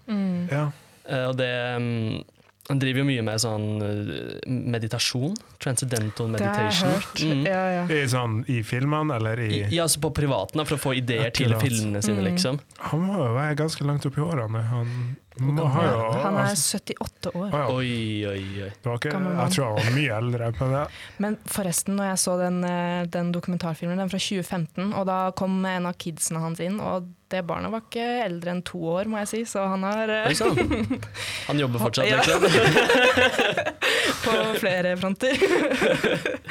Speaker 10: Ja.
Speaker 8: Eh, og det um, Han driver jo mye med sånn eh, meditasjon. Transcendental
Speaker 9: Det har jeg
Speaker 8: meditation.
Speaker 9: hørt.
Speaker 8: Mm.
Speaker 9: Ja, ja.
Speaker 10: I, sånn, I filmene, eller i
Speaker 8: I- Ja, altså på privaten, da, for å få ideer til
Speaker 10: Akkurat.
Speaker 8: filmene sine,
Speaker 9: Mm.
Speaker 8: liksom.
Speaker 10: Han må jo være ganske langt opp i årene. Han må ha jo
Speaker 9: Han er 78 år.
Speaker 10: Å ja,
Speaker 8: Oi, oi, oi.
Speaker 10: det var ikke,
Speaker 9: gammel mann.
Speaker 10: jeg tror han var mye eldre. Men det,
Speaker 9: Men forresten, når jeg så den, eh, den dokumentarfilmen, den fra 2015, og da kom en av kidsene hans inn, og det barnet var ikke eldre enn to år, må jeg si, så han har eh,
Speaker 8: Oi sann! Han jobber fortsatt,
Speaker 9: Ja.
Speaker 8: liksom.
Speaker 9: på flere fronter.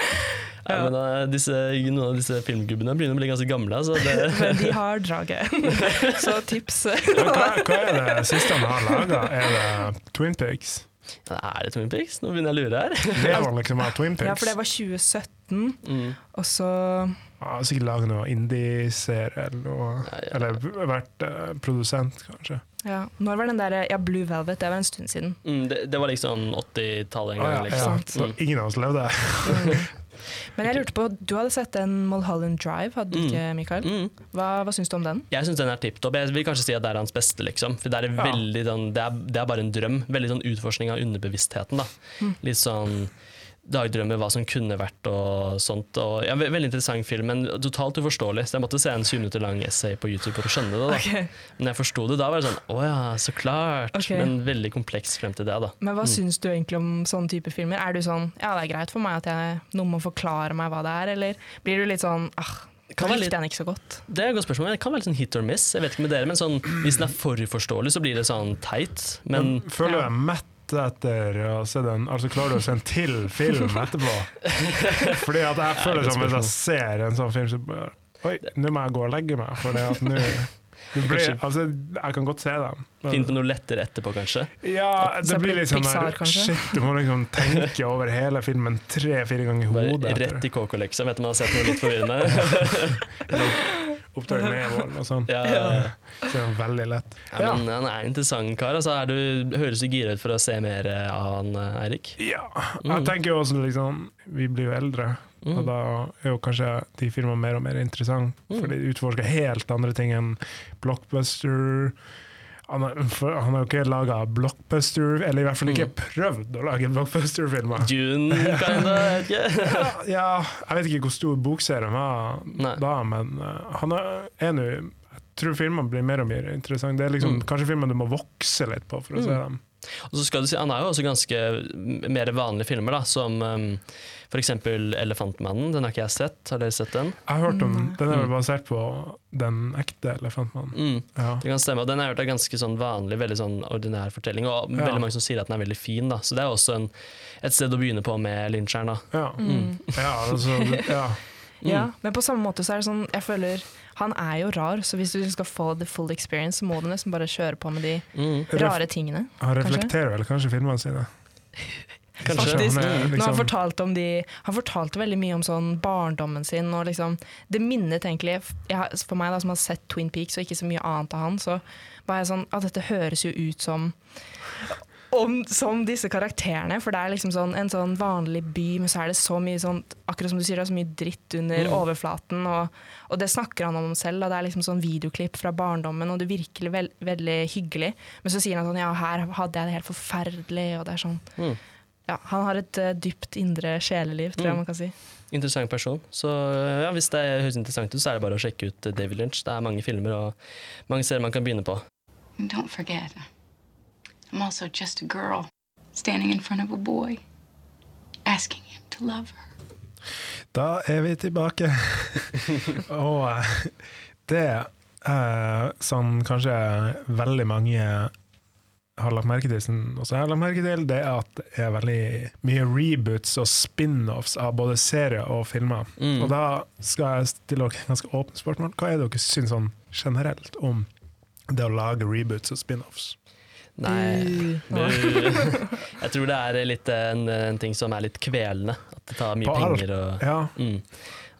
Speaker 8: Ja, men, eh, disse, noen av disse filmgubbene begynner å bli ganske gamle. Så det,
Speaker 9: Men de har draget. Så tips.
Speaker 10: men hva, hva er det siste han har laga? Er det Twin Pigs?
Speaker 8: er det Twin Peaks? Nå begynner jeg å lure her.
Speaker 10: Det var liksom av Twin
Speaker 9: Ja,
Speaker 10: Pigs.
Speaker 9: for det var 2017,
Speaker 8: Mm.
Speaker 9: og så
Speaker 10: Han har sikkert laga noe indie-serie, eller, noe- eller vært eh, produsent, kanskje.
Speaker 9: ja. Når var den der Ja, Blue Velvet, det var en stund siden.
Speaker 8: Mm, det, det var liksom 80-tallet en gang.
Speaker 10: Å, Ah, ja, ja.
Speaker 8: liksom.
Speaker 10: Så ingen av oss levde.
Speaker 9: Men jeg lurte på, du hadde sett den Mulholland Drive, hadde du
Speaker 8: Mm.
Speaker 9: ikke, Mikael?
Speaker 8: Mm.
Speaker 9: Hva, hva syns du om den?
Speaker 8: Jeg syns den er tipp topp. Jeg vil kanskje si at det er hans beste. liksom. For Det er,
Speaker 10: Ja.
Speaker 8: veldig, sånn, det er, det er bare en drøm. Veldig sånn utforskning av underbevisstheten. da.
Speaker 10: Mm.
Speaker 8: Litt sånn dagdrømmer, hva som kunne vært og sånt. Og, ja, ve- veldig interessant film, men totalt uforståelig. Så jeg måtte se en 20 minutter lang essay på YouTube for å skjønne det. da.
Speaker 9: Ok.
Speaker 8: Men jeg forsto det da, var det sånn Å ja, så klart.
Speaker 9: Ok.
Speaker 8: Men veldig kompleks frem til det, da.
Speaker 9: Men hva syns du egentlig om sånne type filmer? Er du sånn ja, det er greit for meg at jeg, noen må forklare meg hva det er, eller blir du litt sånn ah,
Speaker 8: Kan
Speaker 9: kan
Speaker 8: være
Speaker 9: likte jeg
Speaker 8: litt-
Speaker 9: den ikke så godt?
Speaker 8: Det er et godt spørsmål. Det kan være litt sånn hit or miss. Jeg vet ikke med dere, men sånn, Hvis den er for uforståelig, så blir det sånn teit. Men
Speaker 10: Føler du deg mett etter å se den? Altså Klarer du å se en til film etterpå? Fordi at jeg føler
Speaker 8: godt
Speaker 10: som
Speaker 8: spørsmål.
Speaker 10: hvis jeg ser en sånn film, så bare Oi, nå må jeg gå og legge meg, for at nå nå blir,
Speaker 8: Kanskje-
Speaker 10: altså, jeg kan godt se dem.
Speaker 8: finn på noe lettere etterpå, kanskje.
Speaker 10: Ja, det
Speaker 9: Så
Speaker 10: blir
Speaker 9: blir
Speaker 10: litt sånn
Speaker 9: Pixar,
Speaker 10: der,
Speaker 9: kanskje?
Speaker 10: Shit, du må liksom tenke over hele filmen tre-fire ganger i hodet.
Speaker 8: Bare
Speaker 10: etter
Speaker 8: rett i KK, liksom. Etter man har sett noe litt forvirrende.
Speaker 10: Opptak med vold og sånn.
Speaker 8: ja.
Speaker 10: Så det er veldig lett.
Speaker 8: Ja, men han er en interessant kar. Altså, er du, høres du gira ut for å se mer eh, av han, eh, Eirik?
Speaker 10: Ja.
Speaker 8: Mm.
Speaker 10: Jeg tenker jo også liksom Vi blir jo eldre, og da er jo kanskje de filmene mer og mer interessante.
Speaker 8: Mm.
Speaker 10: Fordi de utforsker helt andre ting enn blockbuster. Han er- for han har jo ikke laga blockbuster, eller i hvert fall
Speaker 8: Mm.
Speaker 10: ikke prøvd å lage blockbuster-filmer.
Speaker 8: June, kinda? jeg vet ikke.
Speaker 10: Ja, jeg vet ikke hvor stor bokserien var
Speaker 8: Nei.
Speaker 10: da, men eh, han er er nå Jeg tror filmene blir mer og mer interessante. Det er liksom,
Speaker 8: Mm.
Speaker 10: kanskje filmer du må vokse litt på for å se dem.
Speaker 8: Og så skal du si, Han er jo også ganske m- mer vanlige filmer, da, som um, f.eks. 'Elefantmannen'. Den har ikke jeg sett. Har dere sett den?
Speaker 10: Jeg har hørt om Den er vel basert på den ekte elefantmannen.
Speaker 8: Mm.
Speaker 10: Ja.
Speaker 8: Det kan stemme, og Den er hørt av ganske sånn vanlig, veldig sånn ordinær fortelling. Og
Speaker 10: Ja.
Speaker 8: veldig mange som sier at den er veldig fin. da, Så det er også en, et sted å begynne på med Lyncheren. da.
Speaker 10: Ja. ja, altså, ja.
Speaker 8: Mm.
Speaker 9: Ja, men på samme måte så er det sånn, jeg føler han er jo rar, så hvis du skal få the full experience, så må du nesten bare kjøre på med de
Speaker 8: Mm.
Speaker 9: rare tingene.
Speaker 10: Han reflekterer vel kanskje filmene sine.
Speaker 8: Kanskje.
Speaker 10: Kanskje
Speaker 9: Faktisk.
Speaker 10: han er
Speaker 9: Når han
Speaker 10: liksom
Speaker 9: fortalte om de Han fortalte veldig mye om sånn barndommen sin og liksom Det minnet egentlig jeg, har- For meg da som har sett Twin Peaks og ikke så mye annet av han, så var jeg sånn At dette høres jo ut som om, som disse karakterene, for det er liksom sånn, en sånn vanlig by, men så er det så mye sånn Akkurat som du sier, det er så mye dritt
Speaker 10: Mm.
Speaker 9: under overflaten, og, og det snakker han om selv. Da. Det er liksom sånn videoklipp fra barndommen, og det virker vel, veldig hyggelig. Men så sier han sånn Ja, her hadde jeg det helt forferdelig, og det er sånn ja, han har et eh, dypt indre sjeleliv, tror jeg man kan si.
Speaker 8: Interessant person. Så ja, Hvis det høres interessant ut, så er det bare å sjekke ut David Lynch. Det er mange filmer og mange serier man kan begynne på.
Speaker 6: And don't forget, I'm also just a girl standing in front of a boy, asking him to love her.
Speaker 10: Da er vi tilbake. og eh, det eh, som kanskje veldig mange har lagt merke til, som også jeg har lagt merke til, det er at det er veldig mye reboots og spin-offs av både serier og filmer. Og da skal jeg stille dere et ganske åpent spørsmål. Hva er det dere syns sånn generelt om det å lage reboots og spin-offs?
Speaker 8: Nei Bu. Jeg tror det er litt en, en ting som er litt kvelende. At det tar mye
Speaker 10: På alt.
Speaker 8: penger. og...
Speaker 10: Ja,
Speaker 8: Mm.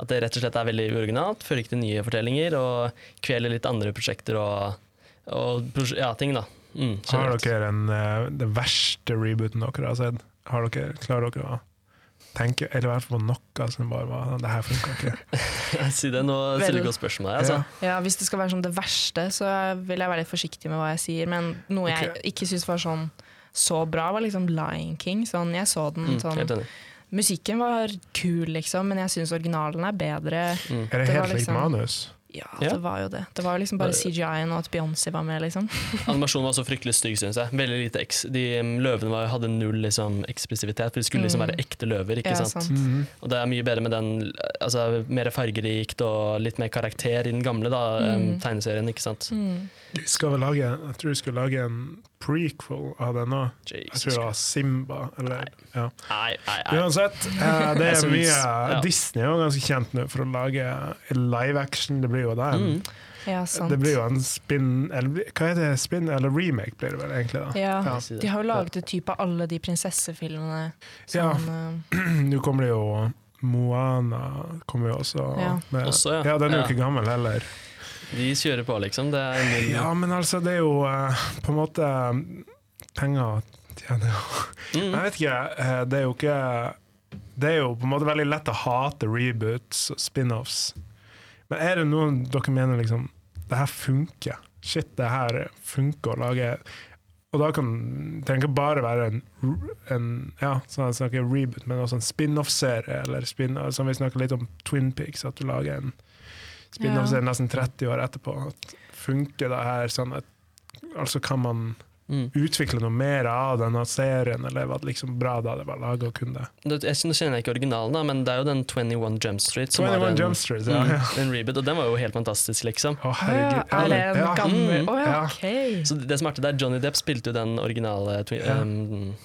Speaker 8: At det rett og slett er veldig uoriginalt, fører ikke til nye fortellinger og kveler litt andre prosjekter og, og pros ja, ting. da. Mm,
Speaker 10: Har
Speaker 8: generelt.
Speaker 10: dere en, eh, den verste rebooten dere har sett? Har dere, klarer dere å tenke Eller i hvert fall på noe som bare var Det her funka ikke.
Speaker 8: Si det nå, stiller du godt spørsmål. her, Altså.
Speaker 9: Ja, Hvis det skal være sånn det verste, så vil jeg være litt forsiktig med hva jeg sier. Men noe jeg
Speaker 10: Ok.
Speaker 9: ikke syns var sånn så bra, var liksom Lion King. Sånn, jeg så den
Speaker 8: Mm,
Speaker 9: sånn
Speaker 8: helt enig.
Speaker 9: Musikken var kul, liksom, men jeg syns originalen er bedre.
Speaker 8: Mm.
Speaker 10: Er
Speaker 9: Det
Speaker 10: det
Speaker 9: var
Speaker 10: helt likt
Speaker 9: liksom-
Speaker 10: manus?
Speaker 9: Ja,
Speaker 8: Ja.
Speaker 9: det var jo det. Det var jo liksom bare CGI-en og at Beyoncé var med, liksom.
Speaker 8: Animasjonen var så fryktelig stygg, syns jeg. Veldig lite eks de um, Løvene var, hadde null liksom, ekspressivitet, for de skulle liksom
Speaker 9: Mm.
Speaker 8: være ekte løver. ikke
Speaker 9: Ja,
Speaker 8: sant?
Speaker 9: sant.
Speaker 10: Mhm.
Speaker 8: Og det er mye bedre med den altså, mer fargerikt og litt mer karakter i den gamle da, um,
Speaker 9: Mm.
Speaker 8: tegneserien. ikke sant?
Speaker 9: Mm.
Speaker 10: De skal vel lage Jeg tror de skulle lage en prequel av den òg. Jeg tror
Speaker 8: Jesus.
Speaker 10: det var Simba. Eller, ja.
Speaker 8: Nei, nei, nei.
Speaker 10: Uansett, eh, det
Speaker 8: Jeg
Speaker 10: er
Speaker 8: synes-
Speaker 10: mye
Speaker 8: ja.
Speaker 10: Disney er jo ganske kjent nå for å lage live action. Det blir jo det.
Speaker 8: Mm.
Speaker 9: Ja, sant.
Speaker 10: Det blir jo en spin eller, Hva heter det? Spin eller remake, blir det vel egentlig. da
Speaker 9: ja.
Speaker 10: Ja.
Speaker 9: De har jo laget et type av alle de prinsessefilmene.
Speaker 10: Ja.
Speaker 9: Sånn, eh,
Speaker 10: Mm, Nå kommer det jo Moana kommer jo også
Speaker 9: Ja.
Speaker 10: med.
Speaker 8: Også, ja.
Speaker 10: den er
Speaker 8: Ja.
Speaker 10: jo ikke gammel heller.
Speaker 8: De kjører på, liksom. Det er null
Speaker 10: Ja, men altså, det er jo eh, på en måte eh, Penger tjener jo
Speaker 8: Mm.
Speaker 10: Jeg vet ikke. eh, det er jo ikke Det er jo på en måte veldig lett å hate reboots og spin-offs. Men er det noen dere mener liksom Det her funker. Shit, det her funker å lage. Og da kan det trenger ikke bare være en, r- en ja, sånn jeg snakker reboot, men også en spin-off-serie, eller spin altså, som vi snakker litt om Twin Pics, at du lager en spin-off-serie nesten 30 år etterpå. At funker det her sånn at Altså kan man
Speaker 8: Mm.
Speaker 10: utvikle noe mer av denne serien, eller var det liksom bra da det var laget og kunne det?
Speaker 8: Det- Jeg kjenner- kjenner ikke originalen, da, men det er jo den 21 Jump Street. som har
Speaker 10: 21
Speaker 8: en-
Speaker 10: Jump Street, ja. ja.
Speaker 8: Mm, en reboot, og den var jo helt fantastisk, liksom.
Speaker 10: Å,
Speaker 9: Å
Speaker 10: herregud.
Speaker 9: ja, er det en
Speaker 10: Ja.
Speaker 9: gammel
Speaker 8: Mm.
Speaker 9: Å ja,
Speaker 10: Ja.
Speaker 9: ok.
Speaker 8: Så det som er artig der, Johnny Depp spilte jo den originale twi
Speaker 10: Ja.
Speaker 8: um,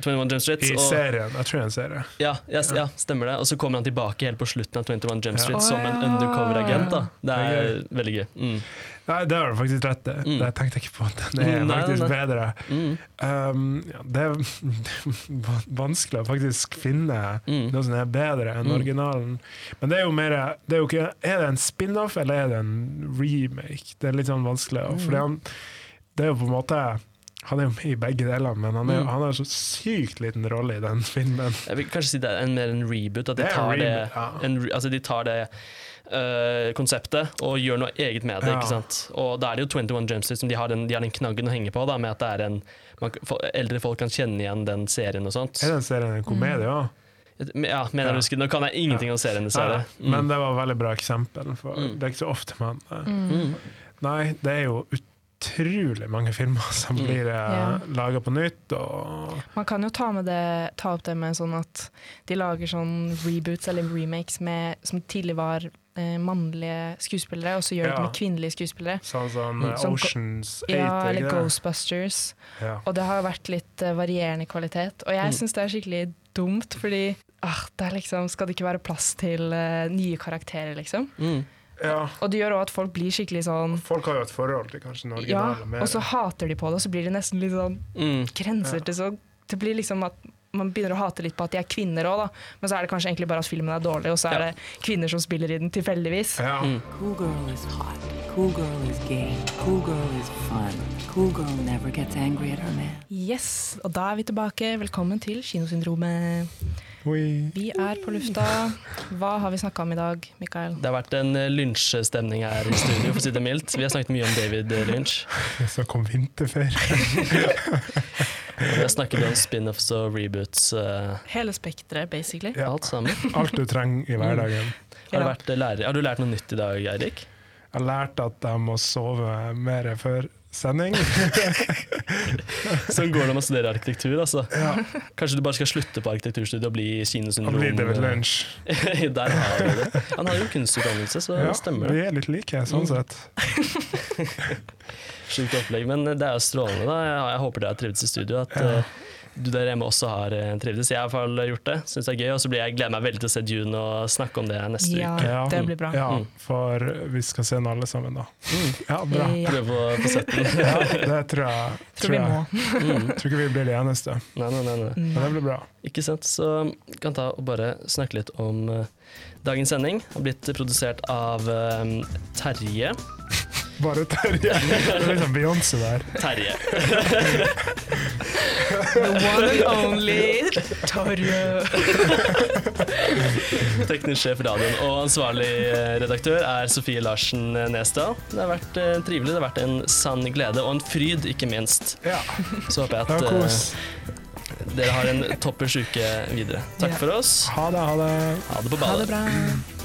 Speaker 8: 21 Jump Street.
Speaker 10: I
Speaker 8: og-
Speaker 10: serien. Jeg tror det er en serie.
Speaker 8: Ja, ja, s- ja, stemmer det. Og så kommer han tilbake helt på slutten av 21 Jump
Speaker 10: Ja.
Speaker 8: Street
Speaker 9: Å,
Speaker 8: som en
Speaker 9: ja.
Speaker 8: undercover-agent. da. Det er
Speaker 10: Det
Speaker 8: veldig gøy. Mm.
Speaker 10: Nei, det har du faktisk rett i.
Speaker 8: Mm.
Speaker 10: Det tenkte jeg ikke på. Den er
Speaker 8: Mm, nei,
Speaker 10: faktisk
Speaker 8: nei, nei.
Speaker 10: bedre.
Speaker 8: Mm.
Speaker 10: Um, ja, det er van- vanskelig å faktisk finne
Speaker 8: Mm.
Speaker 10: noe som er bedre enn
Speaker 8: Mm.
Speaker 10: originalen. Men det er jo mer det er, jo ikke, er det en spin-off eller er det en remake? Det er litt sånn vanskelig. å-
Speaker 8: Mm.
Speaker 10: Fordi han, det er jo på en måte Han er jo med i begge deler, men han, er, jo-
Speaker 8: Mm.
Speaker 10: han har så sykt liten rolle i den filmen.
Speaker 8: Jeg vil kanskje si det er en, mer en reboot. At de
Speaker 10: Det er en
Speaker 8: tar det,
Speaker 10: reboot, ja.
Speaker 8: en, re- altså de tar det øh, konseptet og gjør noe eget med det.
Speaker 10: Ja.
Speaker 8: ikke sant? Og da er det jo 21 Jump Street som de har den, de har den knaggen å henge på, da, med at det er en, man, kan- fo- eldre folk kan kjenne igjen den serien og sånt.
Speaker 10: Er den serien en komedie
Speaker 8: Mm.
Speaker 10: òg?
Speaker 8: Men- Ja, mener
Speaker 10: Ja.
Speaker 8: jeg husker. Nå kan jeg Mm. ingenting om serien, dessverre.
Speaker 10: Men det var et veldig bra eksempel, for det er ikke så ofte man eh,
Speaker 8: Mm.
Speaker 10: Nei, det er jo utrolig mange filmer som
Speaker 8: Mm.
Speaker 10: blir
Speaker 9: Ja.
Speaker 10: yeah. laga på nytt. Og
Speaker 9: Man kan jo ta, med det, ta opp det med sånn at de lager sånn reboots eller remakes med, som tidlig var eh, mannlige skuespillere, og så gjør de det
Speaker 10: Ja.
Speaker 9: med kvinnelige skuespillere.
Speaker 10: sånn som
Speaker 9: Mm.
Speaker 10: eh,
Speaker 9: Som Go-
Speaker 10: Oceans 8.
Speaker 9: Ja,
Speaker 10: ikke
Speaker 9: eller
Speaker 10: det?
Speaker 9: Ghostbusters.
Speaker 10: Ja.
Speaker 9: Og det har jo vært litt eh, varierende kvalitet. Og
Speaker 10: Mm.
Speaker 9: jeg syns det er skikkelig dumt, fordi ah, det er liksom, skal det ikke være plass til eh, nye karakterer, liksom?
Speaker 8: Mm.
Speaker 10: ja.
Speaker 9: Og det gjør òg at folk blir skikkelig sånn
Speaker 10: Folk har jo et forhold til kanskje den
Speaker 9: ja,
Speaker 10: originale mer.
Speaker 9: og så hater de på det, og så blir det nesten litt sånn
Speaker 8: Mm.
Speaker 9: grenser til så Det blir liksom at man begynner å hate litt på at de er kvinner òg, da. Men så er det kanskje egentlig bare at filmen er dårlig, og så er
Speaker 8: Ja.
Speaker 9: det kvinner som spiller i den tilfeldigvis.
Speaker 10: ja.
Speaker 8: Mm.
Speaker 2: Cool girl is hot. Cool girl is gay. Cool girl is fun. Cool girl never gets angry at her man.
Speaker 9: Yes, og da er vi tilbake. Velkommen til Kinosyndromet.
Speaker 10: Oi.
Speaker 9: Vi er på lufta. Hva har vi snakka om i dag, Mikael?
Speaker 8: Det har vært en eh, lynsjestemning her i studio, for å si det mildt. Vi har snakket mye om David eh, Lynch.
Speaker 10: Så kom vinterferie.
Speaker 8: Og vi har snakket om spin-offs og reboots. eh,
Speaker 9: Hele spekteret, basically.
Speaker 10: Ja.
Speaker 8: Alt sammen.
Speaker 10: Alt du trenger i
Speaker 9: Mm.
Speaker 10: hverdagen.
Speaker 8: Har
Speaker 9: Ja.
Speaker 8: du, vært eh, lærer? har du lært noe nytt i dag, Eirik?
Speaker 10: Jeg har lært at jeg må sove mer før sending.
Speaker 8: Sånn går det om å studere arkitektur, altså.
Speaker 10: Ja.
Speaker 8: Kanskje du bare skal slutte på arkitekturstudiet og bli
Speaker 10: Og
Speaker 8: kinesyndrom?
Speaker 10: blir det ved lunsj.
Speaker 8: Der har du det. Han har jo kunstutdannelse, så
Speaker 10: Ja,
Speaker 8: det stemmer
Speaker 10: vi
Speaker 8: det.
Speaker 10: er litt like sånn
Speaker 8: Mm.
Speaker 10: sett.
Speaker 8: Sjukt opplegg. Men det er jo strålende, da. Jeg, jeg håper dere har trivdes i studio. At eh, du der hjemme også har eh, trivdes. Jeg har i hvert fall gjort det. Syns det er gøy. Og så blir jeg gleder meg veldig til å se June og snakke om det neste
Speaker 9: Ja,
Speaker 8: uke.
Speaker 10: Ja.
Speaker 9: det blir bra.
Speaker 10: Ja,
Speaker 8: Mm.
Speaker 10: for vi skal se den alle sammen, da. Ja, bra.
Speaker 9: Ja.
Speaker 8: Prøve å få sett den.
Speaker 10: Ja, det tror jeg.
Speaker 9: Tror vi må.
Speaker 8: Mm.
Speaker 10: Tror ikke vi blir de eneste,
Speaker 8: Nei, nei, nei, nei.
Speaker 10: men det blir bra.
Speaker 8: Ikke sant? Så vi kan ta og bare snakke litt om eh, dagens sending. Har blitt produsert av eh, Terje.
Speaker 10: Bare Terje. Det er liksom Beyoncé der.
Speaker 8: Terje.
Speaker 9: The one and only Torje.
Speaker 8: Teknisk sjef radioen og ansvarlig eh, redaktør er Sofie Larsen eh, Nesdal. Det har vært eh, trivelig, det har vært en sann glede og en fryd, ikke minst.
Speaker 10: Ja,
Speaker 8: Så håper
Speaker 10: det
Speaker 8: jeg at
Speaker 10: var kos.
Speaker 8: eh, dere har en toppers uke videre. Takk for oss.
Speaker 10: Ha det, ha det.
Speaker 8: Ha det på
Speaker 9: Ha
Speaker 8: badet.
Speaker 9: det bra.